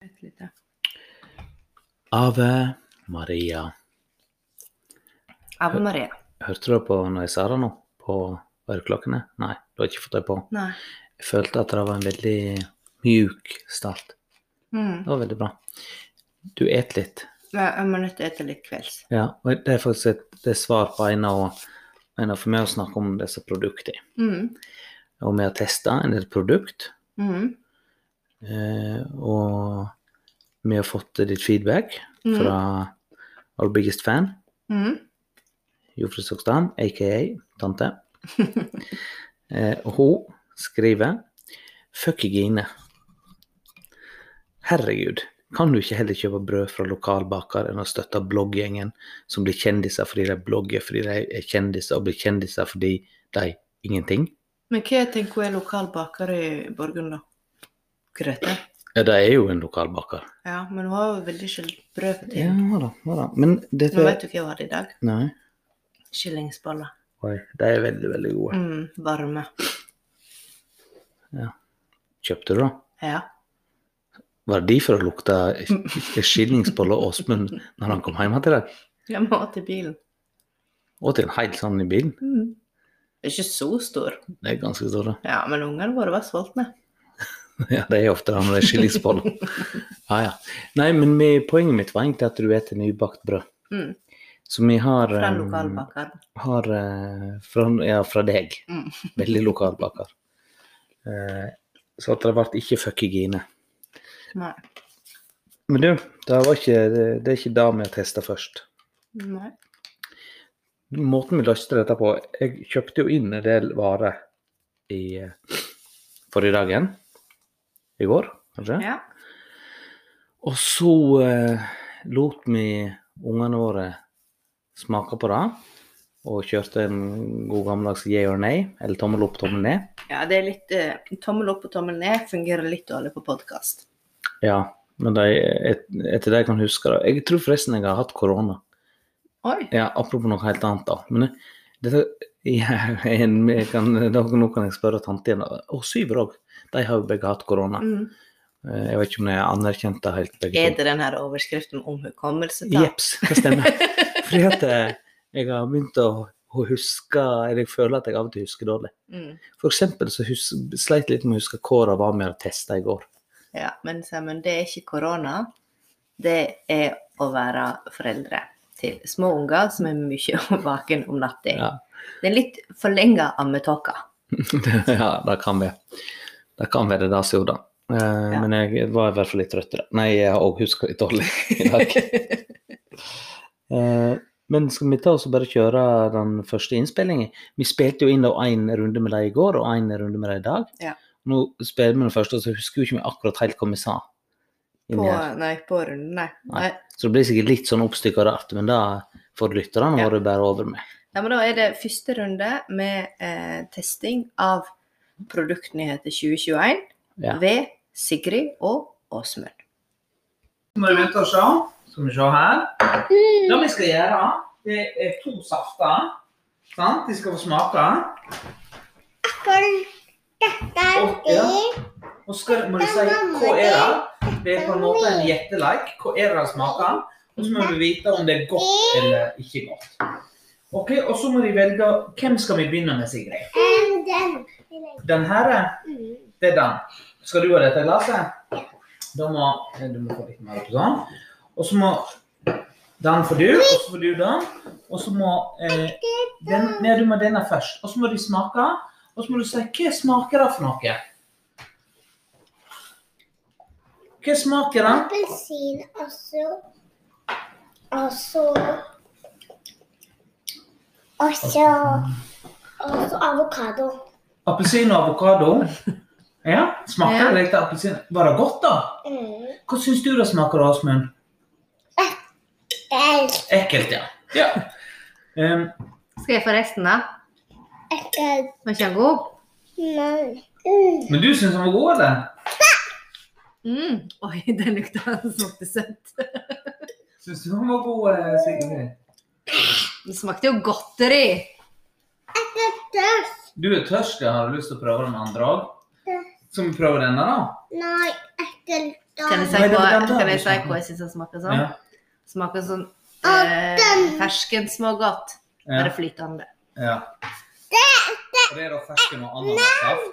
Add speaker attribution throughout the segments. Speaker 1: vente litt. ja.
Speaker 2: Ave Maria.
Speaker 1: Ave Maria.
Speaker 2: Hørte du på når jeg sa det nå? På øreklokkene? Nei, du har ikke fått det på.
Speaker 1: Nei.
Speaker 2: Jeg følte at det var en veldig mjuk start.
Speaker 1: Mm.
Speaker 2: Det var veldig bra. Du et litt.
Speaker 1: Ja, Jeg må nødt til å ete litt kvelds.
Speaker 2: Ja, og det er faktisk et det er svar på en av, en av for meg å snakke om disse produktene.
Speaker 1: Mm.
Speaker 2: Og vi har testa en del produkt,
Speaker 1: Mm.
Speaker 2: eh, og vi har fått litt feedback
Speaker 1: Mm.
Speaker 2: fra our biggest fan,
Speaker 1: Mm.
Speaker 2: Jofrid Sokstam, aka tante. Eh, og hun skriver Fuck hygiene. Herregud, kan du ikke heller kjøpe brød fra lokalbaker enn å støtte blogggjengen som blir kjendiser fordi de blogger fordi de er kjendiser, og blir kjendiser fordi de ingenting?
Speaker 1: Men hva tenker jeg er lokal baker i Borgen, da? Grøte?
Speaker 2: Ja, det er jo en lokalbaker.
Speaker 1: Ja, men hun har jo veldig sjelden brød for
Speaker 2: Ja
Speaker 1: tiden.
Speaker 2: da, ja da. Men
Speaker 1: Nå
Speaker 2: dette
Speaker 1: vet du hva hun hadde i dag?
Speaker 2: Nei.
Speaker 1: Skillingsboller.
Speaker 2: Oi, de er veldig, veldig gode.
Speaker 1: Mm, varme.
Speaker 2: Kjøpte du, da?
Speaker 1: Ja.
Speaker 2: Var det de for å lukte skillingsbolle og Åsmund når han kom hjem til deg?
Speaker 1: Jeg må til bilen.
Speaker 2: Og til en hel sånn i bilen?
Speaker 1: Mm. Ikke så stor.
Speaker 2: Det er ganske store.
Speaker 1: Ja, men ungene våre var sultne.
Speaker 2: Ja, det er ofte det når det er skillingsboller. Ja, ja. Nei, men vi- poenget mitt var egentlig at du spiser nybakt brød.
Speaker 1: Mm.
Speaker 2: Så vi har
Speaker 1: Fra
Speaker 2: eh,
Speaker 1: lokalbakeren.
Speaker 2: Har, eh, fra, ja, fra deg.
Speaker 1: Mm.
Speaker 2: Veldig lokalbaker. Eh, så at det ble ikke fuck hygiene.
Speaker 1: Nei.
Speaker 2: Men du, det, var ikke, det, det er ikke det vi har testa først.
Speaker 1: Nei.
Speaker 2: Måten vi løste dette på Jeg kjøpte jo inn en del varer i eh, forrige dagen. I går, kanskje?
Speaker 1: Ja.
Speaker 2: Og så eh, lot vi ungene våre smake på det, og kjørte en god gammeldags yeah or nay, eller tommel opp, tommel ned.
Speaker 1: ja, det er litt eh, Tommel opp og tommel ned fungerer litt dårlig på podkast.
Speaker 2: Ja, men de, et, etter det jeg kan huske det. Jeg tror forresten jeg har hatt korona.
Speaker 1: Oi.
Speaker 2: Ja, apropos noe helt annet, da. Men eh, dette, ja, en, jeg kan, da, nå kan jeg spørre tante igjen. Og Syver òg. De har jo begge hatt korona.
Speaker 1: Mm.
Speaker 2: Eh, Jeg vet ikke om de har anerkjent det helt, begge
Speaker 1: Er det den her overskriften om hukommelse? da?
Speaker 2: Jepps, det stemmer. Fordi at eh, jeg har begynt å å huske, eller jeg føler at jeg av og til husker dårlig.
Speaker 1: Mm.
Speaker 2: For eksempel så hus, sleit jeg litt med å huske hva det var vi hadde testa i går.
Speaker 1: Ja, men Simon, det er ikke korona. Det er å være foreldre til små unger som er mye våken om natta.
Speaker 2: Ja,
Speaker 1: Det er litt forlenga ammetåke.
Speaker 2: ja det kan være. Det kan være det der som gjorde det. Eh,
Speaker 1: Ja.
Speaker 2: Men jeg var i hvert fall litt trøtt i dag. Nei, jeg har òg huska litt dårlig i dag. Eh, Men skal vi ta oss og bare kjøre den første innspillingen? Vi spilte jo inn da én runde med dem i går, og én runde med dem i dag.
Speaker 1: Ja.
Speaker 2: Nå spiller vi den første, og så husker jo ikke vi akkurat helt hva vi sa. inni
Speaker 1: På,
Speaker 2: her.
Speaker 1: nei, på runden, nei.
Speaker 2: Nei.
Speaker 1: nei.
Speaker 2: Så det blir sikkert litt sånn oppstykka rart, men det får lytterne
Speaker 1: Ja.
Speaker 2: våre bære over med.
Speaker 1: Ja, men da er det første runde med eh, testing av produktnyheter 2021
Speaker 2: Ja.
Speaker 1: ved Sigrid og Åsmund.
Speaker 2: Må du vente og se. Skal vi se her. Det vi skal gjøre, det er to safter. Sant? De skal få smake. Og, ja. og skal, må du si hva er det? Det er på en måte en gjettelek. Hva er det det smaker? Og så må du vite om det er godt eller ikke godt. Ok, Og så må de velge Hvem skal vi begynne med, Sigrid? Den her? Det er den. Skal du ha dette glasset? Da må eh, Du må få litt mer på sånn. Og så må Den får du, og så får du den. Og så må eh, den, Nei, du må denne først. Og så må de smake. Og så må du si hva smaker det for noe? Hva smaker det?
Speaker 3: Appelsin og så Og så Og så Og så avokado.
Speaker 2: Appelsin og avokado. Ja, smaker
Speaker 1: Ja.
Speaker 2: det litt av appelsin? Var det godt, da?
Speaker 3: Mm.
Speaker 2: Hva syns du det smaker, Åsmund?
Speaker 3: Jeg
Speaker 2: Ekkelt, ja. Ehm, ja. Em,
Speaker 1: Skal jeg få resten, da?
Speaker 3: elsker
Speaker 1: Var ikke den god?
Speaker 3: mann. Mm.
Speaker 2: men du syns den var god, eller?
Speaker 1: Mm. Oi, den lukta smakte søtt.
Speaker 2: Syns du den var god, eh, Sigrid?
Speaker 1: Det smakte jo godteri.
Speaker 3: Døff.
Speaker 2: Du er tørst, ja. Har du lyst til å prøve den andre òg? Så vi prøver denne, da.
Speaker 3: Nei, jeg elsker
Speaker 1: Kan jeg si
Speaker 4: Nei, det
Speaker 1: hva,
Speaker 4: var den der
Speaker 1: kan
Speaker 4: vi
Speaker 1: jeg si
Speaker 4: snakket om.
Speaker 1: hva jeg syns den smaker som?
Speaker 4: Ja.
Speaker 1: Smaker sånn
Speaker 3: Og
Speaker 1: eh,
Speaker 3: den-
Speaker 1: ferskensmågodt. Bare
Speaker 4: Ja.
Speaker 1: flytende.
Speaker 4: ja. Og Det er da fersken og ananassaft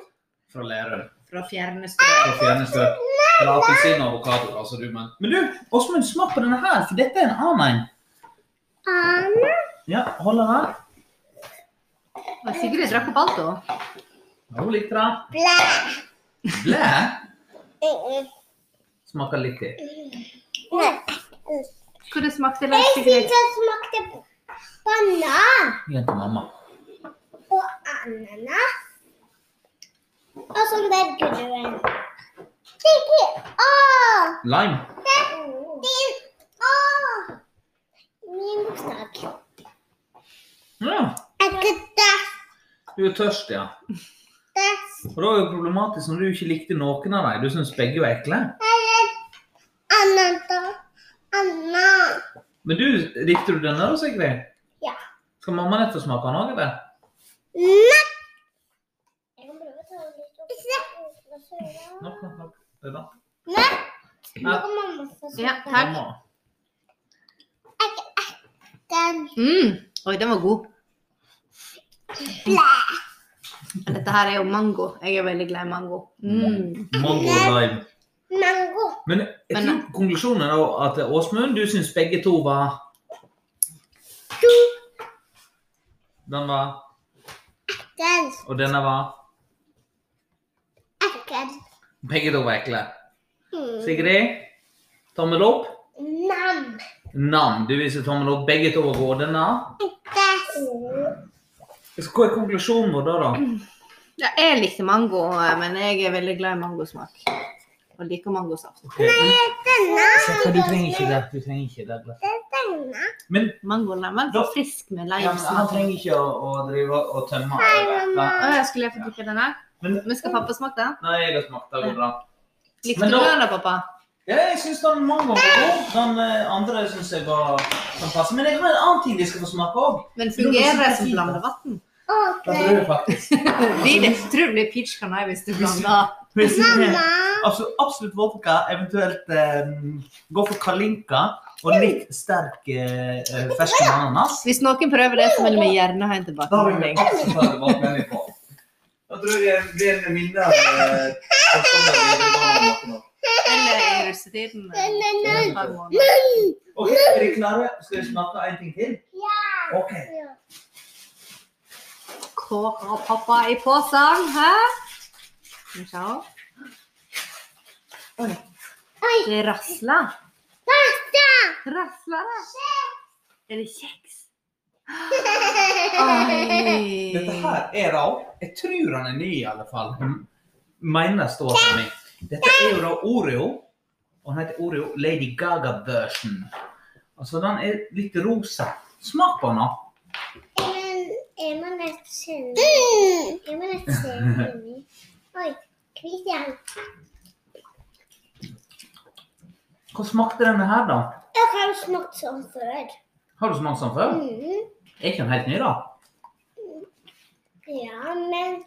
Speaker 4: fra Lerum.
Speaker 1: Fra fjerne
Speaker 4: Fra
Speaker 1: strøk.
Speaker 4: fjerne strøk. Eller appelsin og avokado, da, som du mener. Men du, Åsmund, smak på denne her, for dette er en annen en.
Speaker 3: Anna.
Speaker 4: Ja, hold den her.
Speaker 1: Og Sigrid drakk opp alt, da.
Speaker 4: Ja, Hun likte den.
Speaker 3: Blæ.
Speaker 4: Blæ!
Speaker 3: Mm,
Speaker 4: Smaker litt til.
Speaker 3: Nei.
Speaker 1: Hva det smakte det,
Speaker 3: Jeg syns
Speaker 1: Sigrid?
Speaker 3: det smakte banan
Speaker 4: Gi den til mamma.
Speaker 3: og ananas. Og sånn der grønn. Sikkert. Åh!
Speaker 4: Lime.
Speaker 3: Det er din. Åh! Min bursdag.
Speaker 4: Ja,
Speaker 3: Er ikke det
Speaker 4: du er tørst, ja.
Speaker 3: det?
Speaker 4: Og da er det jo problematisk når du ikke likte noen av dem. Du syns begge var ekle.
Speaker 3: Ananas. Ananas.
Speaker 4: Men du, likte du denne da, Sigrid?
Speaker 3: Ja.
Speaker 4: Skal mamma nett få smake den òg, eller?
Speaker 3: Nei! Jeg kan prøve å ta litt opp. Ikke
Speaker 4: Nok, nok, nok. Det er da.
Speaker 3: Nei!
Speaker 4: Nei.
Speaker 3: Nå kan mamma få smake.
Speaker 1: Ja, takk.
Speaker 4: Mamma.
Speaker 3: Den.
Speaker 1: Mm. Oi, den var god.
Speaker 3: Blæ!
Speaker 1: Dette her er jo mango. Jeg er veldig glad i mango. Mm.
Speaker 4: Mango og lime.
Speaker 3: Mango.
Speaker 4: Men jeg tror
Speaker 1: Men-
Speaker 4: konklusjonen er da at eh, Åsmund, du syns begge to var Den var
Speaker 3: Den.
Speaker 4: Og denne var
Speaker 3: Ekkel.
Speaker 4: Begge to var ekle.
Speaker 3: Mm.
Speaker 4: Sigrid, tommel opp.
Speaker 3: Nam.
Speaker 4: Nam. Du viser tommel opp. Begge to var gode. Denne.
Speaker 3: Des.
Speaker 4: Så Hva er konklusjonen vår da, da?
Speaker 1: Ja, jeg likte mango, eh, men jeg er veldig glad i mangosmak. Og liker mangosaft.
Speaker 4: Okay.
Speaker 3: Denne.
Speaker 4: Seppa, du trenger ikke det. Du trenger ikke det. Blatt.
Speaker 3: Denne.
Speaker 4: Men
Speaker 1: Mangolemen er frisk med
Speaker 4: ja, men han
Speaker 1: leimsmak.
Speaker 4: trenger ikke å, å drive og tømme.
Speaker 1: Å,
Speaker 3: mamma.
Speaker 1: jeg skulle jeg få drikke denne?
Speaker 4: Men,
Speaker 1: Men skal pappa smake den?
Speaker 4: nei, jeg har smakt. Det går bra.
Speaker 1: Likte
Speaker 4: Men
Speaker 1: du
Speaker 4: da-
Speaker 1: den da, pappa?
Speaker 4: Ja, jeg syns den mangoen var god. Den eh, andre syns jeg var den passer. Men jeg har en annen ting de skal få smake òg.
Speaker 1: Men
Speaker 4: Jo, men så
Speaker 1: fungerer det
Speaker 4: fint,
Speaker 1: som
Speaker 4: da.
Speaker 1: blandevann?
Speaker 3: Og
Speaker 4: Det tror jeg faktisk.
Speaker 1: Blir det, tror det blir peach canai hvis du blander.
Speaker 4: Men jeg synes det er
Speaker 3: Mamma.
Speaker 4: Absolutt, Altså, absolutt vodka, eventuelt eh, gå for kalinka og litt sterk eh, eh, fersken ananas.
Speaker 1: Hvis noen prøver det, så vil vi gjerne ha en
Speaker 4: Da har vi
Speaker 1: tilbakemelding.
Speaker 4: absolutt hatt valgt mening på. Da tror jeg det blir en minne av eh, kostnader vi har hatt nå.
Speaker 1: Eller i russetiden. eh, et par måneder.
Speaker 4: Ok, er dere klare? Skal vi smake en ting til? Ok.
Speaker 1: Hva har pappa i posen? Hæ? Skal vi se. Oi.
Speaker 3: Oi.
Speaker 1: Det rasler.
Speaker 3: Pasta.
Speaker 1: Rasler det? Er det kjeks? Oi.
Speaker 4: Dette her er da Jeg tror han er ny, i alle fall. Mener jeg står for meg. Dette er jo da Oreo. Og han heter Oreo Lady Gaga-version. Altså, den er litt rosa. Smak på den, da.
Speaker 3: Jeg må nesten
Speaker 1: Mm.
Speaker 3: kjenne Jeg må nesten kjenne inni. Oi, Christian.
Speaker 4: Hva smakte denne her, da?
Speaker 3: Jeg har jo smakt sånn før.
Speaker 4: Har du smakt den før?
Speaker 3: Mm.
Speaker 4: Er ikke den helt ny, da?
Speaker 3: Ja, men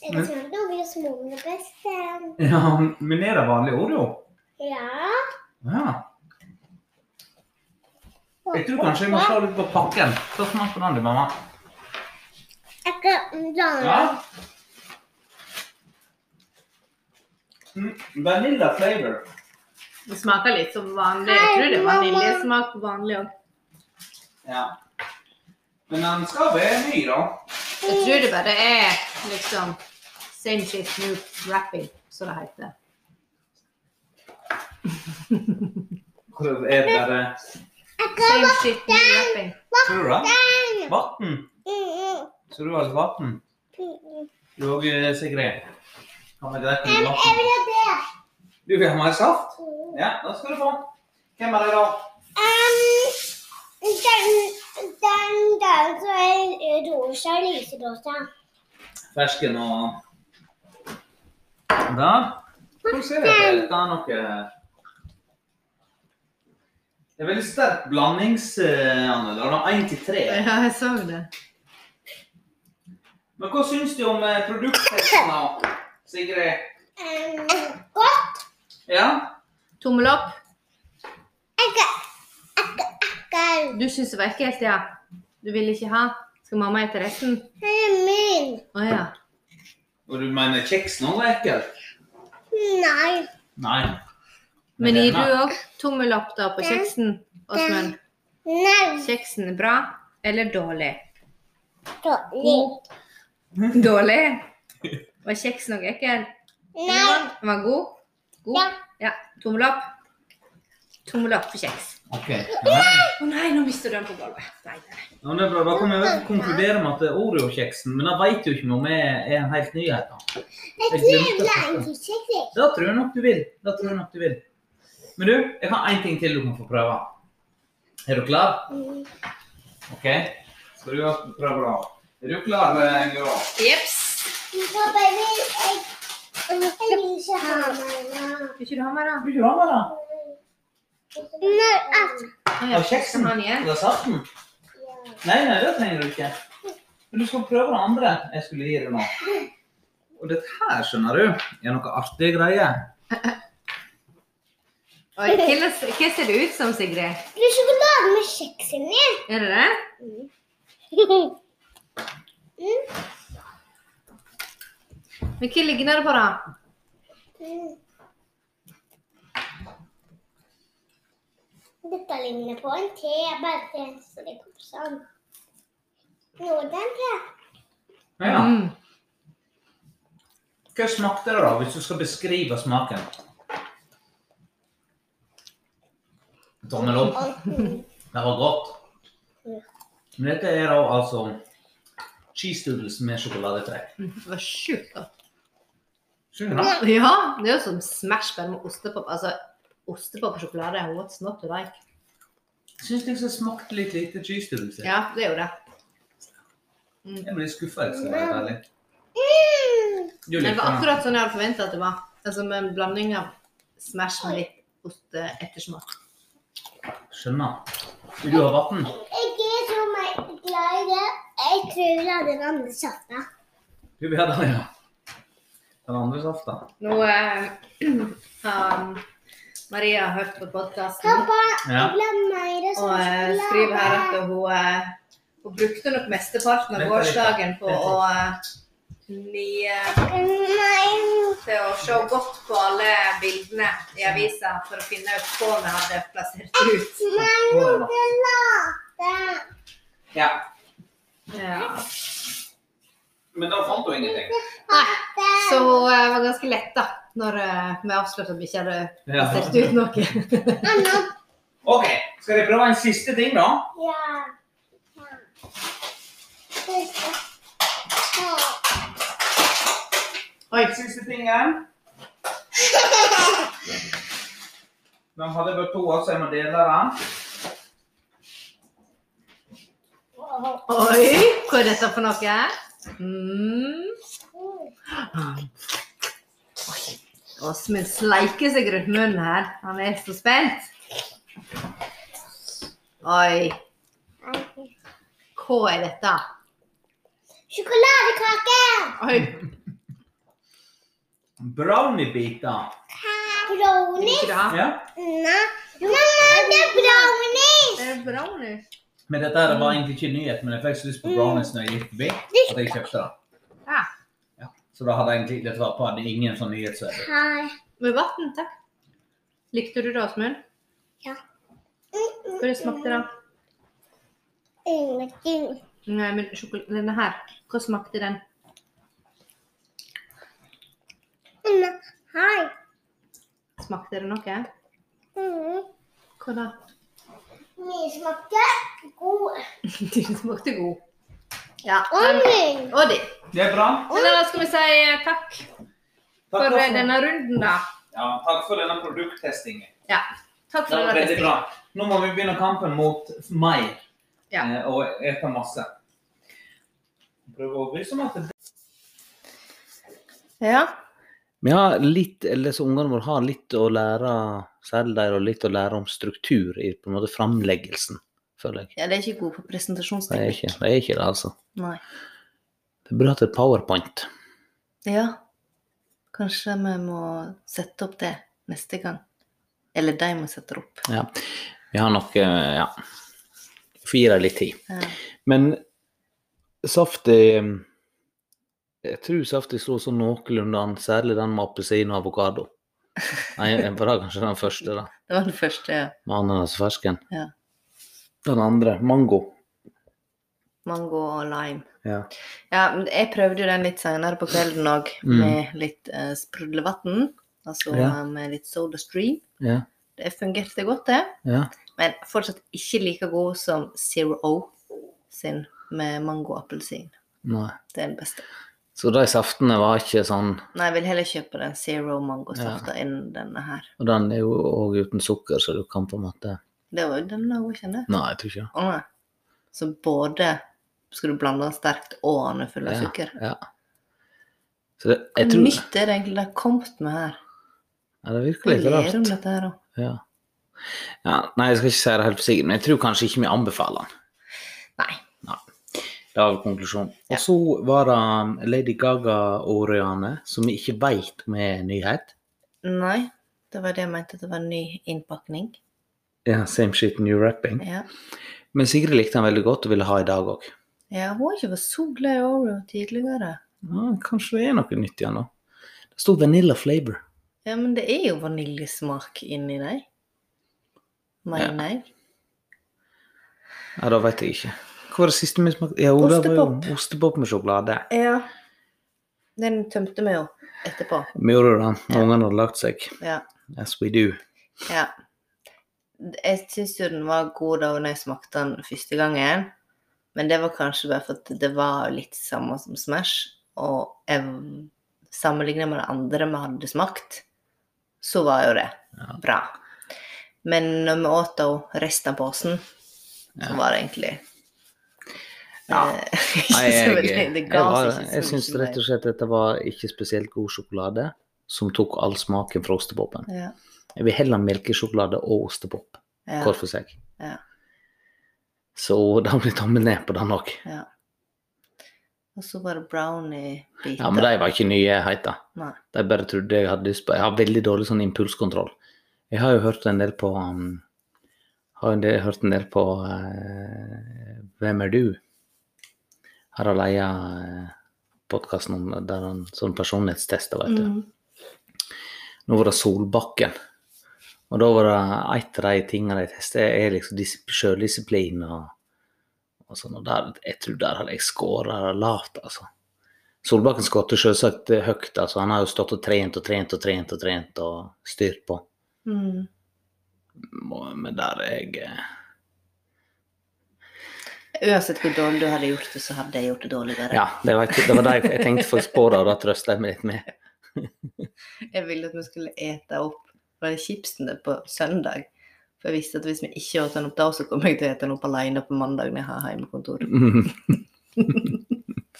Speaker 3: Jeg
Speaker 4: Men-
Speaker 3: tror det blir småene best. eh.
Speaker 4: Ja, men er det vanlig Oreo?
Speaker 3: Ja.
Speaker 4: Ja. Jeg tror kanskje jeg må slå litt på pakken. Så smak på den, du, mamma.
Speaker 3: Jeg kan blande.
Speaker 4: Ja. Mm, vanilla flavor.
Speaker 1: Det smaker litt som vanlig. Jeg tror det er vaniljesmak på vanlig òg.
Speaker 4: Ja. Men den skal være ny, da.
Speaker 1: Jeg tror det bare er liksom same shit new wrapping, som det heter.
Speaker 4: Hvor er det bare
Speaker 3: Jeg kan
Speaker 1: Same shit new wrapping.
Speaker 4: Tror du det?
Speaker 3: blande.
Speaker 4: Vann.
Speaker 3: Mm,
Speaker 4: Så du har litt vann? Du òg, Sigrid? Kan vi drikke litt
Speaker 3: Jeg vil
Speaker 4: vann?
Speaker 3: ha det.
Speaker 4: Du vil ha mer saft?
Speaker 3: Mm.
Speaker 4: Ja, da skal du få. Hvem er det, da?
Speaker 3: Um, den, den der som er rosa, lyserosa.
Speaker 4: Fersken og Der. Hvor ser jeg at det er noe Det er veldig sterk blandingsandel. Den er én til tre.
Speaker 1: Ja, jeg så det.
Speaker 4: Men hva syns du om eh, produkttesten, da, Sigrid?
Speaker 3: Um, godt.
Speaker 4: Ja.
Speaker 1: Tommel opp.
Speaker 3: Akka, akka, akka.
Speaker 1: Du syns det var ekkelt, ja. Du vil ikke ha. Skal mamma ete resten?
Speaker 3: Den er min.
Speaker 1: Å ja.
Speaker 4: Og du mener kjeksen òg var ekkel?
Speaker 3: Nei.
Speaker 4: Nei.
Speaker 1: Men gir
Speaker 4: denne-
Speaker 1: du òg tommel opp da på kjeksen, Åsmund?
Speaker 3: Nei.
Speaker 1: Kjeksen er bra eller dårlig?
Speaker 3: Dårlig.
Speaker 1: Dårlig? Var kjeksen òg ekkel?
Speaker 3: Nei.
Speaker 1: Den var god? God?
Speaker 3: Ja.
Speaker 1: ja. Tommel opp. Tommel opp for kjeks.
Speaker 4: Ok. Ja.
Speaker 1: Å nei, nå mista du den på gulvet. Nei, nei.
Speaker 4: Ja, men det er bra. Da kan vi vel konkludere med at det er Oreo-kjeksen Men det vet jo ikke om vi er er en helt nyhet. da. Jeg
Speaker 3: Jeg tror
Speaker 4: glemte å
Speaker 3: jeg ble
Speaker 4: snakke.
Speaker 3: en kjekk.
Speaker 4: Det tror jeg nok du vil. Det tror jeg nok du vil. Men du, jeg har én ting til du kan få prøve. Er du klar? OK. Skal du også prøve da? Er du klar, Engra?
Speaker 1: Jeps.
Speaker 3: Pappa, jeg vil jeg- jeg vil ikke ha meg.
Speaker 1: Vil ikke du ha mer, da?
Speaker 4: Vil du ha med det?
Speaker 3: Nei, altså.
Speaker 1: Å,
Speaker 4: Av
Speaker 1: Skal
Speaker 4: kjeksen?
Speaker 1: ha den igjen?
Speaker 4: Eller saften? Nei, nei, det trenger du ikke. Men du skal prøve det andre jeg skulle gi deg nå. Og dette her, skjønner du, er noe artige greier.
Speaker 1: Oi, hva, hva ser det ut som, Sigrid?
Speaker 3: Det er sjokolade med kjeks inni.
Speaker 1: Er det det?
Speaker 3: Hmm?
Speaker 1: Men hva ligner det på, da?
Speaker 3: Mm. Dette ligner på en te, bare at den ser ikke opp sånn. Nå er det en te.
Speaker 4: Ja.
Speaker 1: Mm.
Speaker 4: Hva smakte det, da, hvis du skal beskrive smaken? Tommel opp.
Speaker 3: Og-
Speaker 4: Det var godt. Men dette er da altså cheese doodles med sjokoladetrekk.
Speaker 1: Det var sjukt godt.
Speaker 4: Skjønner du?
Speaker 1: Ja, det er jo som Smash bare med ostepop. Altså, ostepop og sjokolade what's not to like?
Speaker 4: Syns liksom det smakte litt lite cheese doodles. i.
Speaker 1: Ja, det er jo det.
Speaker 4: Jeg blir skuffa, jeg skal være ærlig.
Speaker 1: Men
Speaker 4: Du
Speaker 3: Mm.
Speaker 1: det var
Speaker 4: likte den.
Speaker 1: akkurat sånn jeg hadde forventa at det var. Altså med en blanding av Smash med litt osteettersmak.
Speaker 4: Skjønner. Vil du ha vann?
Speaker 3: Jeg er så meg glad i det. Jeg tror jeg hadde den andre kjappa.
Speaker 4: Du vil ha den, ja. Den andre safta.
Speaker 1: Nå eh, har um, Maria hørt på podkasten.
Speaker 3: Pappa,
Speaker 4: Ja.
Speaker 3: jeg ble mer
Speaker 1: Og
Speaker 3: sånn
Speaker 1: eh, skriver her at hun, eh, hun brukte nok mesteparten av
Speaker 4: Vent litt.
Speaker 1: gårsdagen på
Speaker 4: Vent litt.
Speaker 1: å eh, ni, eh,
Speaker 3: Nei.
Speaker 1: til å se godt på alle bildene i avisa for å finne ut hva vi hadde plassert ut.
Speaker 3: Nei, nå er det late.
Speaker 4: ja.
Speaker 1: Ja.
Speaker 4: Men da fant du ingenting.
Speaker 1: Nei, Så hun eh, var ganske letta når eh, vi avslørte at vi ikke hadde
Speaker 4: Ja.
Speaker 1: plassert ut noe.
Speaker 3: Anna.
Speaker 4: OK, skal jeg prøve en siste ting, da?
Speaker 3: Ja. Ja. Ja.
Speaker 4: Oi. Siste tingen. Den hadde bare to, så jeg må dele den.
Speaker 1: Oi, hva er dette for noe? Mm. Åsmund sleiker seg rundt munnen her. Han er så spent. Oi, hva er dette?
Speaker 3: Sjokoladekake!
Speaker 1: Oi,
Speaker 4: Browniebiter.
Speaker 1: vil
Speaker 3: Brownies?
Speaker 1: ikke du ha?
Speaker 4: Ja.
Speaker 3: Nei. Mamma, det er brownies!
Speaker 1: Er det brownies?
Speaker 4: Men dette her var egentlig ikke nyhet, men jeg fikk så lyst på brownies når jeg gikk forbi. At jeg kjøpte det.
Speaker 1: Ja.
Speaker 4: Så da hadde jeg egentlig dette var på, hadde ingen sånn nyhetsverdi.
Speaker 3: Hei.
Speaker 1: Med vann, takk. Likte du det, Åsmund? Hva smakte det?
Speaker 3: Ingenting.
Speaker 1: Nei, men sjokol- denne her, hva smakte den?
Speaker 3: Anna, Hei.
Speaker 1: Smakte det noe?
Speaker 3: Mm.
Speaker 1: Hva da?
Speaker 3: Min smakte god.
Speaker 1: Den smakte god. Ja.
Speaker 3: Og
Speaker 1: den-
Speaker 3: min.
Speaker 1: Og de.
Speaker 4: Det er bra.
Speaker 1: Men da skal vi si eh, takk
Speaker 4: Takk
Speaker 1: for eh,
Speaker 4: for,
Speaker 1: denne runden, da.
Speaker 4: ja, takk for denne produkttestingen.
Speaker 1: Ja. Takk
Speaker 4: Det
Speaker 1: for
Speaker 4: var
Speaker 1: denne
Speaker 4: veldig
Speaker 1: testen.
Speaker 4: bra. Nå må vi begynne kampen mot mai.
Speaker 1: Ja.
Speaker 4: Eh, Og ete masse. Prøve å overbevise om at det
Speaker 1: Ja.
Speaker 2: Vi har litt, eller så ungene våre har litt å lære, særlig de, og litt å lære om struktur i på en måte framleggelsen, føler jeg.
Speaker 1: Ja, det er ikke god på
Speaker 2: Det er
Speaker 1: presentasjonsteknikk.
Speaker 2: ikke det, er ikke det altså.
Speaker 1: Nei.
Speaker 2: Det burde hatt et powerpoint.
Speaker 1: Ja. Kanskje vi må sette opp det neste gang. Eller de må sette det opp.
Speaker 2: Ja. Vi har noe Ja. Får gi dem litt tid.
Speaker 1: Ja.
Speaker 2: Men safti Jeg tror safti slo sånn noenlunde an, særlig den med appelsin og avokado. Nei, det var kanskje den første, da.
Speaker 1: Det var den første ja.
Speaker 2: Med ananas og fersken.
Speaker 1: Ja.
Speaker 2: Den andre, mango.
Speaker 1: mango og lime.
Speaker 2: Ja.
Speaker 1: Ja, men jeg prøvde jo den litt senere på kvelden òg,
Speaker 2: Mm.
Speaker 1: med litt uh, sprudlevann. Altså
Speaker 2: Ja.
Speaker 1: eh, med litt soda stream.
Speaker 2: Ja.
Speaker 1: Det fungerte godt, det.
Speaker 2: ja.
Speaker 1: Men fortsatt ikke like god som Zero O sin med mango og appelsin.
Speaker 2: Nei.
Speaker 1: Det er den beste.
Speaker 2: Så de saftene var ikke sånn
Speaker 1: Nei, jeg vil heller kjøpe den Zero mangosafta enn denne her.
Speaker 2: Og den er jo òg uten sukker, så du kan på en måte
Speaker 1: Det var jo den jeg også kjenner.
Speaker 2: Nei, jeg tror ikke det.
Speaker 1: Å nei. Så både skal du blande den sterkt og den er full av
Speaker 2: Ja,
Speaker 1: sukker.
Speaker 2: Ja. Så det,
Speaker 1: Hva
Speaker 2: jeg tror ja,
Speaker 1: nytt er det egentlig de har kommet med her?
Speaker 2: Det virker
Speaker 1: Vi
Speaker 2: litt
Speaker 1: ler om
Speaker 2: rart.
Speaker 1: dette her òg.
Speaker 2: Ja. Ja, nei, jeg skal ikke si det helt for sikkert, men jeg tror kanskje ikke vi anbefaler den.
Speaker 1: Nei.
Speaker 2: Det var vel konklusjonen.
Speaker 1: Ja.
Speaker 2: Og så var det um, Lady Gaga-Oriane, som vi ikke veit om er en nyhet.
Speaker 1: Nei, det var det jeg mente at det var en ny innpakning.
Speaker 2: Ja, same shit, new rapping.
Speaker 1: Ja.
Speaker 2: Men Sigrid likte den veldig godt og ville ha i dag òg.
Speaker 1: ja, hun har ikke vært så glad i Oreo tidligere.
Speaker 2: Ja, kanskje det er noe nytt igjen nå. Det sto vanilla flavor.
Speaker 1: Ja, men det er jo vaniljesmak inni deg. Mener jeg.
Speaker 2: Ja, da vet jeg ikke. Hva var det siste vi smakte? Ja, Ola var jo
Speaker 1: Ostepop.
Speaker 2: ostepop med sjokolade.
Speaker 1: Ja. Den tømte vi jo etterpå.
Speaker 2: Vi gjorde det da
Speaker 1: Ja.
Speaker 2: når ungene hadde lagt seg.
Speaker 1: Ja.
Speaker 2: As we do.
Speaker 1: ja. Jeg syns jo den var god da når jeg smakte den første gangen. Men det var kanskje bare for at det var litt samme som Smash. Og jeg sammenligna med det andre vi hadde smakt, så var jo det
Speaker 2: Ja.
Speaker 1: bra. Men når vi åt da resten av posen, så
Speaker 2: Ja.
Speaker 1: var det egentlig
Speaker 2: Ja.
Speaker 1: eh, ikke
Speaker 2: Nei,
Speaker 1: så
Speaker 2: jeg,
Speaker 1: veldig-
Speaker 2: jeg,
Speaker 1: det ga
Speaker 2: var-
Speaker 1: seg ikke så
Speaker 2: jeg
Speaker 1: mye
Speaker 2: syns
Speaker 1: mer.
Speaker 2: rett og slett dette var ikke spesielt god sjokolade, som tok all smaken fra ostepopen.
Speaker 1: ja,
Speaker 2: Jeg vil heller ha melkesjokolade og ostepop
Speaker 1: ja.
Speaker 2: hver for seg.
Speaker 1: Ja.
Speaker 2: Så da blir tommelen ned på den òg.
Speaker 1: Og så var det brownie-biter.
Speaker 2: Ja, men de var ikke nyheter.
Speaker 1: Nei.
Speaker 2: De bare trodde jeg hadde lyst på. Jeg har veldig dårlig sånn impulskontroll. Jeg har jo hørt en del på um, Har en del, hørt en del på eh, Hvem er du? Harald Eia uh, podkasten om der han sånn personlighetstester, vet du.
Speaker 1: Mm.
Speaker 2: Nå var det Solbakken. Og da var det et av de tingene jeg testet, er liksom dis- sjøldisiplin og, og sånn. Og der, jeg tror der hadde jeg skåra lavt, altså. Solbakken skåret selvsagt høyt, altså. Han har jo stått og trent og trent og trent og trent og styrt på.
Speaker 1: Mm.
Speaker 2: Må- Men der er jeg eh,
Speaker 1: Uansett hvor dårlig du hadde gjort det, så hadde jeg gjort det dårligere.
Speaker 2: Ja, det var, det var det jeg, jeg tenkte faktisk på det, og da trøsta jeg meg litt med.
Speaker 1: Jeg ville at vi skulle ete opp var det chipsene på søndag. For jeg visste at hvis vi ikke åt den opp da, så kom jeg til å ete den opp alene på mandag når jeg har hjemmekontor.
Speaker 2: Mm.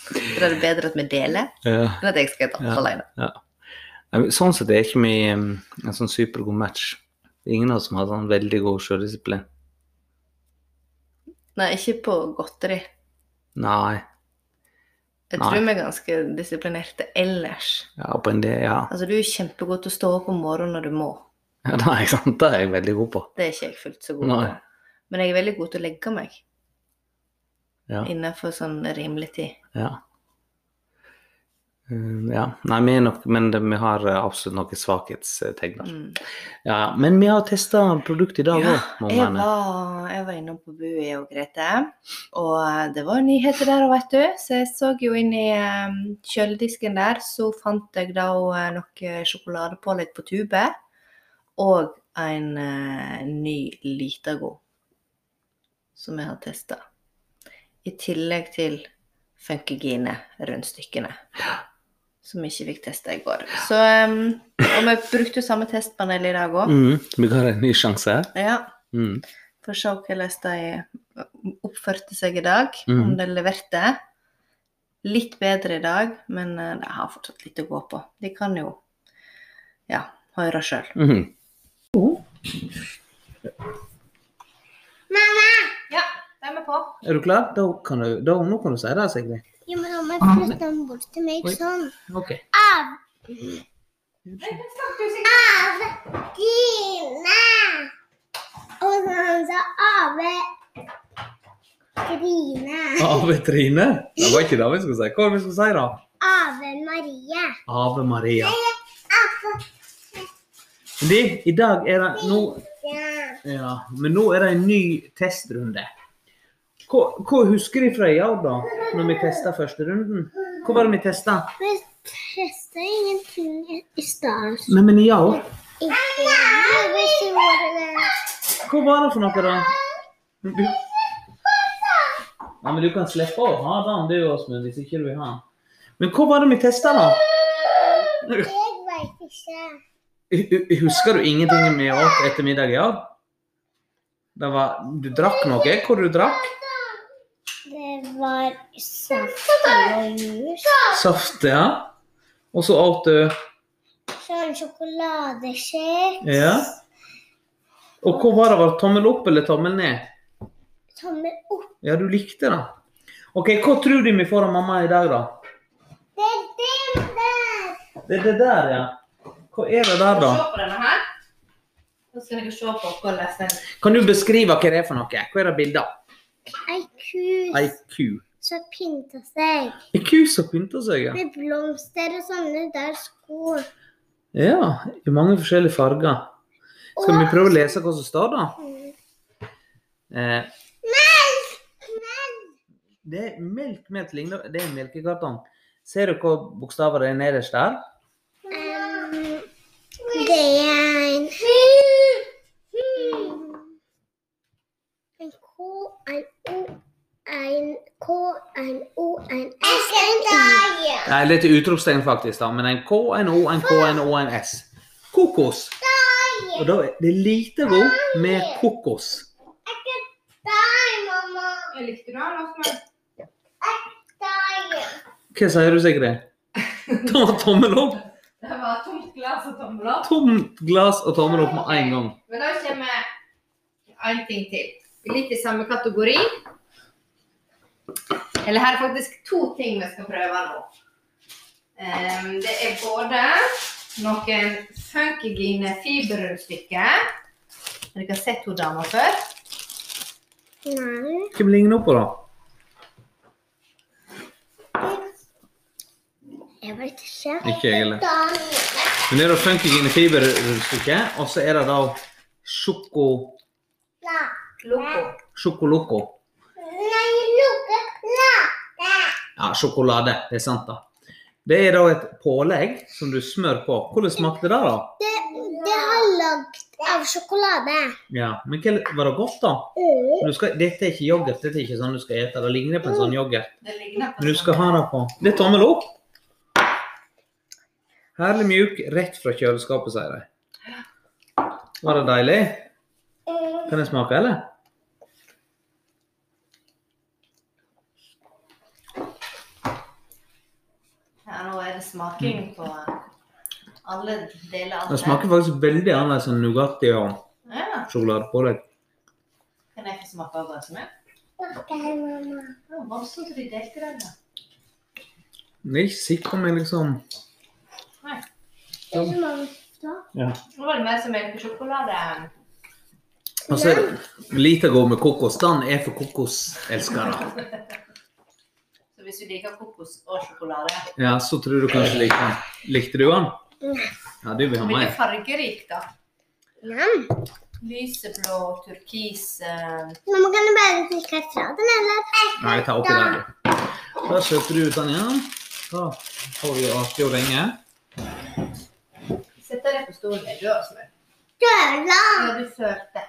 Speaker 1: Så da er det bedre at vi deler,
Speaker 2: Ja.
Speaker 1: enn at jeg skal ete opp
Speaker 2: Ja.
Speaker 1: alene.
Speaker 2: Nei, men Sånn sett er ikke vi um, en sånn supergod match. Det er ingen av oss som har sånn veldig god sjøldisiplin.
Speaker 1: Nei, ikke på godteri.
Speaker 2: Nei.
Speaker 1: Jeg
Speaker 2: Nei.
Speaker 1: tror vi er ganske disiplinerte ellers.
Speaker 2: Ja, på en del, ja.
Speaker 1: Altså, du er kjempegod til å stå opp om morgenen når du må.
Speaker 2: ja nei, sant? Det er jeg veldig god på.
Speaker 1: Det er ikke jeg fullt så god
Speaker 2: Nei.
Speaker 1: på. Men jeg er veldig god til å legge meg
Speaker 2: Ja.
Speaker 1: innenfor sånn rimelig tid.
Speaker 2: Ja. Mm, ja. Nei, vi er nok, men det, vi har eh, absolutt noen svakhetstegn der.
Speaker 1: Mm.
Speaker 2: Ja, men vi har testa produktet i dag
Speaker 1: Ja,
Speaker 2: òg, må
Speaker 1: Jeg
Speaker 2: man
Speaker 1: var, jeg var innom på Bui og Grete, og eh, det var nyheter der òg, vet du. Så jeg så jo inn i eh, kjøledisken der, så fant jeg da eh, noe sjokoladepålegg på tube. Og en eh, ny Litago som jeg har testa. I tillegg til Funkygine-rundstykkene. Som vi ikke fikk testa i går. Så, eh, og vi brukte jo samme testpanel i dag òg.
Speaker 2: mm, Vi har en ny sjanse her.
Speaker 1: Ja.
Speaker 2: Mm.
Speaker 1: For å se hvordan de eh, oppførte seg i dag, om
Speaker 4: Mm.
Speaker 2: Mhm.
Speaker 1: de leverte. Litt bedre i dag, men eh, de har fortsatt litt å gå på. De kan jo ja, høre sjøl.
Speaker 2: Mm.
Speaker 1: Ja, de er på.
Speaker 2: Er du klar? Da kan du, da, nå kan du si det, Sigrid.
Speaker 3: sånn. Jo, men mamma flytter den bort til meg
Speaker 2: Oi.
Speaker 3: sånn.
Speaker 2: Ok.
Speaker 3: Av! Av Tina. Og han sa Ave Trine.
Speaker 4: Ave Trine? Det var ikke det vi skulle si. Hva var det vi skulle si, da?
Speaker 3: Ave Marie.
Speaker 4: Ave Maria.
Speaker 3: Ave
Speaker 4: Men De, i dag er det nå,
Speaker 3: Ja.
Speaker 4: ja, Men nå er det en ny testrunde. Hva, hva husker de fra i år, da? Når vi testa første runden? Hva var det vi testa?
Speaker 3: Vi testa ingenting i stad.
Speaker 4: Nei, men i år?
Speaker 3: Ikke det.
Speaker 4: Hva var det for noe, da? Du... Nei, men du kan slippe å ha den, du, Åsmund, hvis ikke du vil ha den. Men hva var det vi testa, da?
Speaker 3: Jeg veit ikke.
Speaker 4: Hu- hu- Husker du ingenting vi åt etter middag i år? Det var Du drakk noe? Hva du drakk?
Speaker 3: Det var saft og jus.
Speaker 4: Saft, ja. Og så åt du
Speaker 3: Sånn sjokoladekjeks.
Speaker 4: Ja. Og hva var det? Var det tommel opp eller tommel ned?
Speaker 3: Tommel opp.
Speaker 4: Ja, du likte det. OK, hva tror du vi får av mamma i dag, da?
Speaker 3: Det er den der!
Speaker 4: Det er det der, ja. Hva er det der, da?
Speaker 1: Se på denne her. Nå skal dere se på hvordan den
Speaker 4: Kan du beskrive hva det er for noe? Hva er det bildet av?
Speaker 3: Ei ku
Speaker 4: Ei ku.
Speaker 3: som pynter seg.
Speaker 4: Ei ku som pynter seg, ja.
Speaker 3: Med blomster og sånne der sko.
Speaker 4: Ja, I mange forskjellige farger. Skal vi prøve å lese hva som står, da? Eh, det er melk med et ligner Det er en melkekartong. Ser du hva bokstaver det er nederst der?
Speaker 3: Em, det er en En K, en O, en K, en O, en S, en I.
Speaker 4: Nei, litt utropstegn, faktisk, da. Men en K, en O, en K, en O, en S. Kokos. Og da er det lite ro med kokos.
Speaker 3: Deg, mamma.
Speaker 1: Likte altså, du den, Åsmund?
Speaker 3: Deg.
Speaker 4: Hva sier du, Sigrid? Ta tommel opp.
Speaker 1: Det var tomt glass og tommel opp.
Speaker 4: Tomt glass og tommel opp med en gang.
Speaker 1: Men da kommer en ting til. Litt i samme kategori. Eller her er faktisk to ting vi skal prøve nå. Ehm, det er både noen funkygine fiberrundstykker. Dere har sett hun dama før.
Speaker 3: Nei.
Speaker 4: Hvem ligner hun på, da?
Speaker 3: Jeg vet ikke.
Speaker 4: Ikke jeg heller. Men det er da funky gine fiberrundstykker, og så er det da sjoko...
Speaker 1: Loco.
Speaker 4: sjokoloco.
Speaker 3: Nei, lukke
Speaker 4: Ja, sjokolade. Det er sant, da. Det er da et pålegg som du smører på. Hvordan smakte det, da?
Speaker 3: Det, det har lagd av sjokolade.
Speaker 4: Ja, men hva- Var det godt, da? Men Du skal, dette er ikke yoghurt, dette er ikke sånn du skal ete. Det ligner på en sånn yoghurt.
Speaker 1: Det ligner på sånn
Speaker 4: Men du skal ha det på Det er tommel opp. Herlig mjuk, rett fra kjøleskapet, sier de. Var det deilig? Kan jeg smake, eller?
Speaker 1: Ja, nå er det smaking på alle deler av
Speaker 4: Mm. Det smaker faktisk veldig annerledes enn Nugatti og
Speaker 1: Ja.
Speaker 4: sjokoladepålegg.
Speaker 1: Kan jeg få smake av glasset mitt?
Speaker 3: mamma.
Speaker 1: Det var voldsomt at de delte den. da.
Speaker 4: Men Jeg er ikke sikker om jeg liksom
Speaker 1: Nei.
Speaker 3: Det er mamma.
Speaker 4: ja.
Speaker 1: Nå var det mer som melkesjokolade.
Speaker 4: Og så er det altså, lite god med kokos. Den er for kokoselskere.
Speaker 1: Så hvis du liker kokos og sjokolade
Speaker 4: Ja, så tror du kanskje du liker den. Likte du den? Ja, du vil ha
Speaker 1: Veldig
Speaker 4: mer.
Speaker 1: fargerik, da.
Speaker 3: Nam.
Speaker 1: Lyseblå, turkis eh,
Speaker 3: Mamma, kan du bare drikke fra den, eller?
Speaker 4: Nei, jeg tar oppi den, du. Da setter du ut den igjen. Da får vi artig å ringe.
Speaker 1: Sett deg på stolen. Er du også med?
Speaker 3: Døla.
Speaker 1: Ja, du sølte.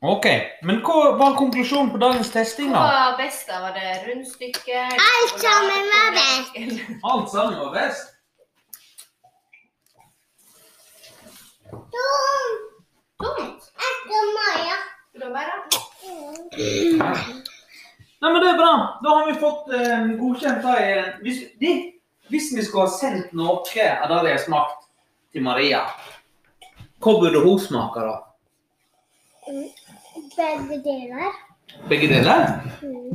Speaker 4: OK. Men hva var konklusjonen på dagens testing,
Speaker 1: Hva
Speaker 4: da?
Speaker 1: var best? da? Var det rundstykke?
Speaker 3: Alt sammen var best.
Speaker 4: Alt sammen var best.
Speaker 3: Dum.
Speaker 1: Tomt.
Speaker 3: Etter Maja.
Speaker 1: Vil du ha mer? da?
Speaker 4: Nei, men det er bra. Da har vi fått eh, godkjent det. eh, Hvis, de, hvis vi skulle ha sendt noe av det de har smakt til Maria, hva burde hun smake da?
Speaker 3: Begge deler.
Speaker 4: Begge deler?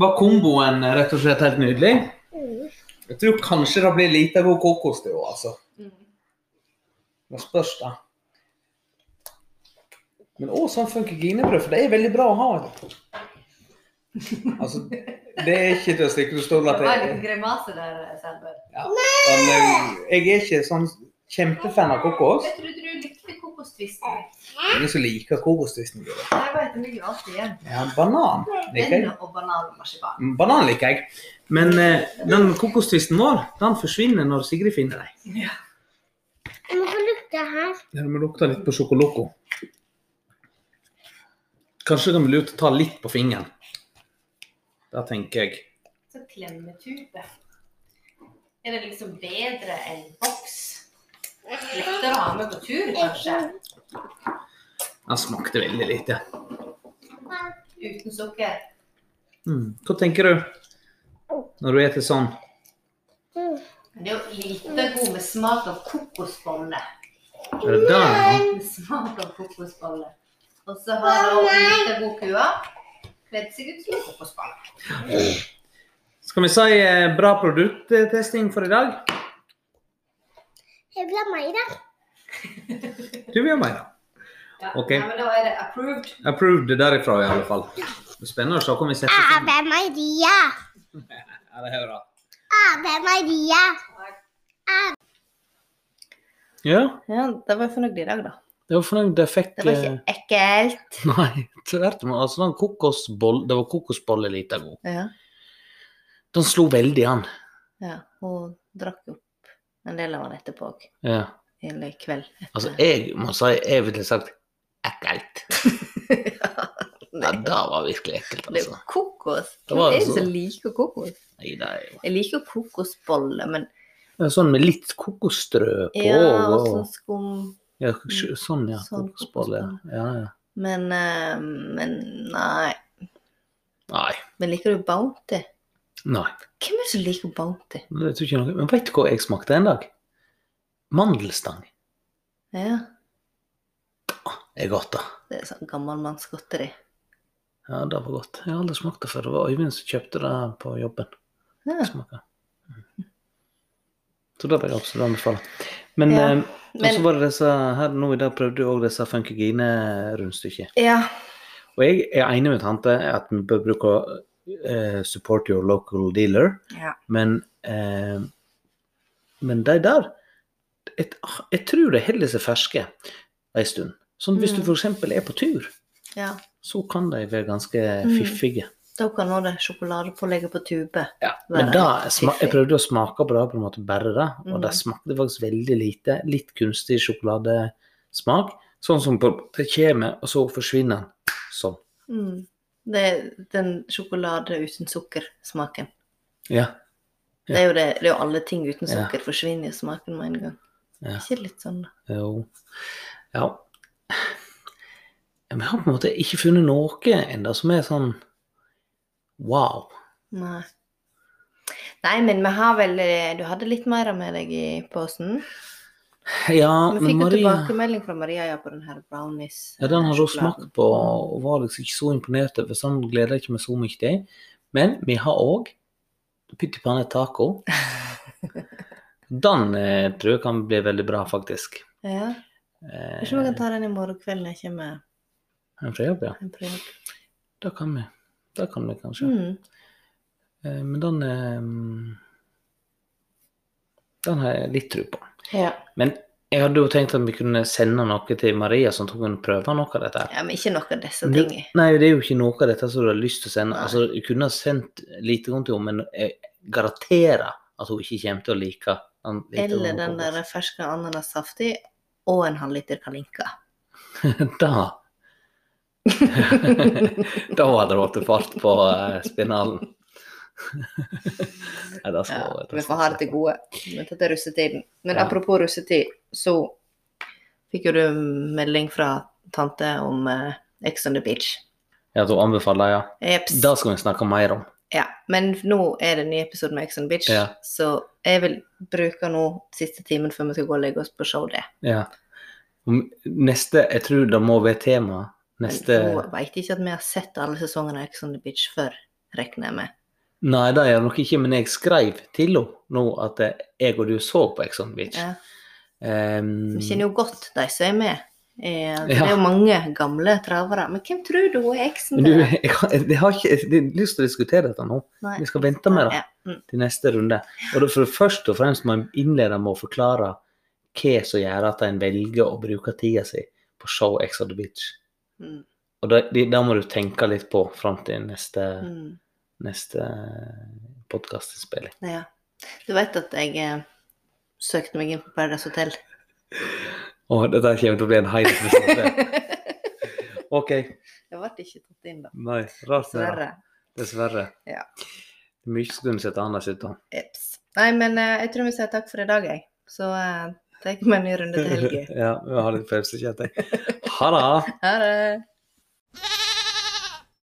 Speaker 4: Var komboen rett og slett helt nydelig?
Speaker 3: Mm.
Speaker 4: Jeg tror kanskje det blir lite god kokos til henne, altså.
Speaker 1: Mm.
Speaker 4: Nå spørs det. Men òg sånn funkeginebrød, for det er veldig bra å ha. Altså, det er ikke til å stikke under stol
Speaker 1: Det
Speaker 4: at
Speaker 1: var en
Speaker 4: jeg,
Speaker 1: liten grimase der, Selmer.
Speaker 4: men, eh, jeg er ikke sånn kjempefan av kokos.
Speaker 1: Jeg trodde du likte kokostvisten.
Speaker 4: Ingen som liker kokostvisten. Guri.
Speaker 1: Det var etter mye alt igjen.
Speaker 4: Ja, banan liker jeg.
Speaker 1: Den
Speaker 4: Mm,
Speaker 1: og banan og marsipan.
Speaker 4: Banan liker jeg. Men eh, den kokostvisten vår, den forsvinner når Sigrid finner deg.
Speaker 3: Jeg må få lukte her.
Speaker 4: Ja, Vi lukter litt på sjokoloco. Kanskje det kan bli lurt å ta litt på fingeren. Det tenker jeg.
Speaker 1: Så klemmetube. Er det liksom bedre enn boks? Lettere å ha med på tur, kanskje?
Speaker 4: Den smakte veldig lite.
Speaker 1: Uten sukker.
Speaker 4: Mm. Hva tenker du når du spiser sånn?
Speaker 1: Men det er jo lite god med smak av kokosbolle.
Speaker 4: Er det der? ja?
Speaker 1: Med smak av kokosbolle. Og så har det også lite god kua. Kledd seg ut som en kokosbolle.
Speaker 4: Skal vi si eh, bra produkttesting for i dag?
Speaker 3: Jeg vil ha meg, da.
Speaker 4: Du vil ha mer, da.
Speaker 1: Ja,
Speaker 4: Ok.
Speaker 1: ja, men da er det approved.
Speaker 4: Approved derifra, i alle fall. Det er Spennende å se hvor vi setter sammen.
Speaker 3: Ave Maria.
Speaker 4: Ja, det er bra.
Speaker 3: Ave Maria.
Speaker 4: Ja,
Speaker 1: Ja, da var jeg fornøyd i dag, da.
Speaker 2: Det var fornøyd det fikk
Speaker 1: Det var ikke ekkelt.
Speaker 2: eh, Nei, tvert imot. Altså, den kokosboll, det var kokosbolle lite god.
Speaker 1: Ja,
Speaker 2: Den slo veldig an.
Speaker 1: ja. Hun drakk opp en del av den etterpå òg.
Speaker 2: Ja.
Speaker 1: Eller i kveld.
Speaker 2: Altså, jeg må si jeg ville sagt ekkelt. Ja,
Speaker 1: Nei,
Speaker 2: det var virkelig ekkelt,
Speaker 1: det er jo
Speaker 2: altså.
Speaker 1: kokos.
Speaker 2: Det var
Speaker 1: Hvem er
Speaker 2: altså-
Speaker 1: det som liker kokos?
Speaker 2: Nei, det er jo
Speaker 1: Jeg liker kokosboller, men
Speaker 2: det er sånn med litt kokosstrø på.
Speaker 1: ja, og
Speaker 2: og-
Speaker 1: sånn skum.
Speaker 2: Ja, sj- sånn, ja.
Speaker 1: Sånn
Speaker 2: Kokosbolle. ja. Ja, ja.
Speaker 1: Men, eh, men nei.
Speaker 2: Nei.
Speaker 1: Men liker du Bounty?
Speaker 2: nei.
Speaker 1: Hvem er det som liker Bounty?
Speaker 2: Det tror jeg ikke noe. Men vet du hva jeg smakte en dag? Mandelstang.
Speaker 1: Ja,
Speaker 2: Det er godt, da.
Speaker 1: det er sånn gammelmannsgodteri.
Speaker 2: Ja, det var godt. Jeg har aldri smakt det før. Det var Øyvind som kjøpte det på jobben.
Speaker 1: Ja.
Speaker 2: Jeg smaker. Mm. Så det vil jeg absolutt anbefale. Men,
Speaker 1: Ja,
Speaker 2: eh, og så
Speaker 1: Men
Speaker 2: var det disse her nå i dag prøvde jeg òg disse funkygine-rundstykket.
Speaker 1: ja,
Speaker 2: Og jeg er enig med tante at vi bør bruke eh, support your local dealer,
Speaker 1: ja.
Speaker 2: men eh, men de der jeg, jeg tror de holder seg ferske en stund. Sånn hvis du
Speaker 1: Mm.
Speaker 2: f.eks. er på tur,
Speaker 1: ja.
Speaker 2: så kan de være ganske
Speaker 1: Mm.
Speaker 2: fiffige.
Speaker 1: Da kan nå det sjokoladepålegget på tube.
Speaker 2: Ja,
Speaker 1: Nei,
Speaker 2: men da, sma-
Speaker 1: fiffig.
Speaker 2: jeg prøvde å smake på det, på en måte bare det, og
Speaker 1: Mhm.
Speaker 2: det smakte faktisk veldig lite. Litt kunstig sjokoladesmak. Sånn som på, det kommer, og så forsvinner den. Sånn.
Speaker 1: Mm. Det er den sjokolade uten sukker-smaken.
Speaker 2: Ja.
Speaker 1: Det er jo det, det er jo alle ting uten
Speaker 2: Ja.
Speaker 1: sukker forsvinner jo smaken med en gang.
Speaker 2: Ja.
Speaker 1: Ikke litt sånn, da.
Speaker 2: Eh, Jo. Ja. Men jeg har på en måte ikke funnet noe ennå som er sånn wow.
Speaker 1: Nei. Nei, men vi har vel eh, Du hadde litt mer med deg i posen.
Speaker 2: Ja,
Speaker 1: Vi
Speaker 2: men
Speaker 1: fikk jo
Speaker 2: Maria
Speaker 1: tilbakemelding fra Maria ja, på den her brownies.
Speaker 2: Ja, den har hun
Speaker 1: sjokoladen.
Speaker 2: smakt på og var liksom ikke så imponert over, så den gleder jeg ikke meg så mye til. Men vi har òg pyttipanne taco. Den eh, tror jeg kan bli veldig bra, faktisk.
Speaker 1: Ja.
Speaker 2: Eh,
Speaker 1: Kanskje vi kan ta den i morgen kveld når jeg kommer
Speaker 2: en fra jobb, ja.
Speaker 1: en prøve.
Speaker 2: Det kan vi. Det kan vi kanskje.
Speaker 1: Mm.
Speaker 2: Eh, men den eh, Den har jeg litt tro på.
Speaker 1: Ja.
Speaker 2: Men jeg hadde jo tenkt at vi kunne sende noe til Maria, sånn at hun kunne prøve noe av dette. her.
Speaker 1: ja, men ikke noe av disse
Speaker 2: Men det-
Speaker 1: tingene.
Speaker 2: Nei, det er jo ikke noe av dette som du har lyst til å sende.
Speaker 1: Nei.
Speaker 2: Altså, du kunne ha sendt lite rundt til henne, men jeg garanterer at hun ikke kommer til å like den. lite
Speaker 1: Eller
Speaker 2: rundt
Speaker 1: den
Speaker 2: kokos.
Speaker 1: der ferske ananassafti og en halvliter kalinka.
Speaker 2: Da Da hadde det vært fart på eh, spinalen. Nei, det skal,
Speaker 1: Ja,
Speaker 2: det
Speaker 1: vi får
Speaker 2: skal
Speaker 1: ha det
Speaker 2: jeg
Speaker 1: til gode. Men dette er russetiden. Men
Speaker 2: Ja.
Speaker 1: apropos russetid, så fikk jo du melding fra tante om eh, Ex on the beach.
Speaker 2: si. Ja, da anbefaler jeg, ja.
Speaker 1: Jeps.
Speaker 2: Det skal vi snakke mer om.
Speaker 1: Ja, men nå er det en ny episode med Ex on the beach,
Speaker 2: Ja.
Speaker 1: så jeg vil bruke nå siste timen før vi skal gå og legge oss på show det.
Speaker 2: Ja. Om- Neste Jeg tror det må være tema. Neste
Speaker 1: Men Hun veit ikke at vi har sett alle sesongene av Ex on the beach før, regner jeg med.
Speaker 2: Nei, det gjør jeg nok ikke, men jeg skrev til henne nå at eh, jeg og du så på Ex on the Beach.
Speaker 1: Ja.
Speaker 2: Ehm,
Speaker 1: Vi kjenner jo godt de som er med. Eh, Det
Speaker 2: Ja.
Speaker 1: er jo mange gamle travere. Men hvem tror du er eksen
Speaker 2: men du,
Speaker 1: til?
Speaker 2: jeg har, jeg har ikke jeg har lyst til å diskutere dette nå.
Speaker 1: Nei.
Speaker 2: Vi skal vente med det
Speaker 1: Ja, mm.
Speaker 2: til neste runde. Og da for Først og fremst må en innlede med å forklare hva som gjør at en velger å bruke tida si på show X on the beach.
Speaker 1: Mm.
Speaker 2: Og da, det- da må du tenke litt på fram til neste,
Speaker 1: Mm.
Speaker 2: neste podkastinnspilling.
Speaker 1: Ja. Du vet at jeg eh, søkte meg inn på Paradise Hotel.
Speaker 2: Å, dette her kommer til å bli en
Speaker 1: jeg
Speaker 2: heidepisode. OK.
Speaker 1: ble ikke tatt inn, da.
Speaker 2: Nei, rart med det.
Speaker 1: Dessverre.
Speaker 2: Dessverre.
Speaker 1: Ja.
Speaker 2: Mye skulle en sett annerledes ut da.
Speaker 1: Eps. Nei, men eh, jeg tror vi sier takk for i dag, jeg. Så eh, tar jeg meg en ny runde til helga.
Speaker 2: Ja, vi har litt pepsikjøtt, jeg. Ha det!
Speaker 1: Ha det.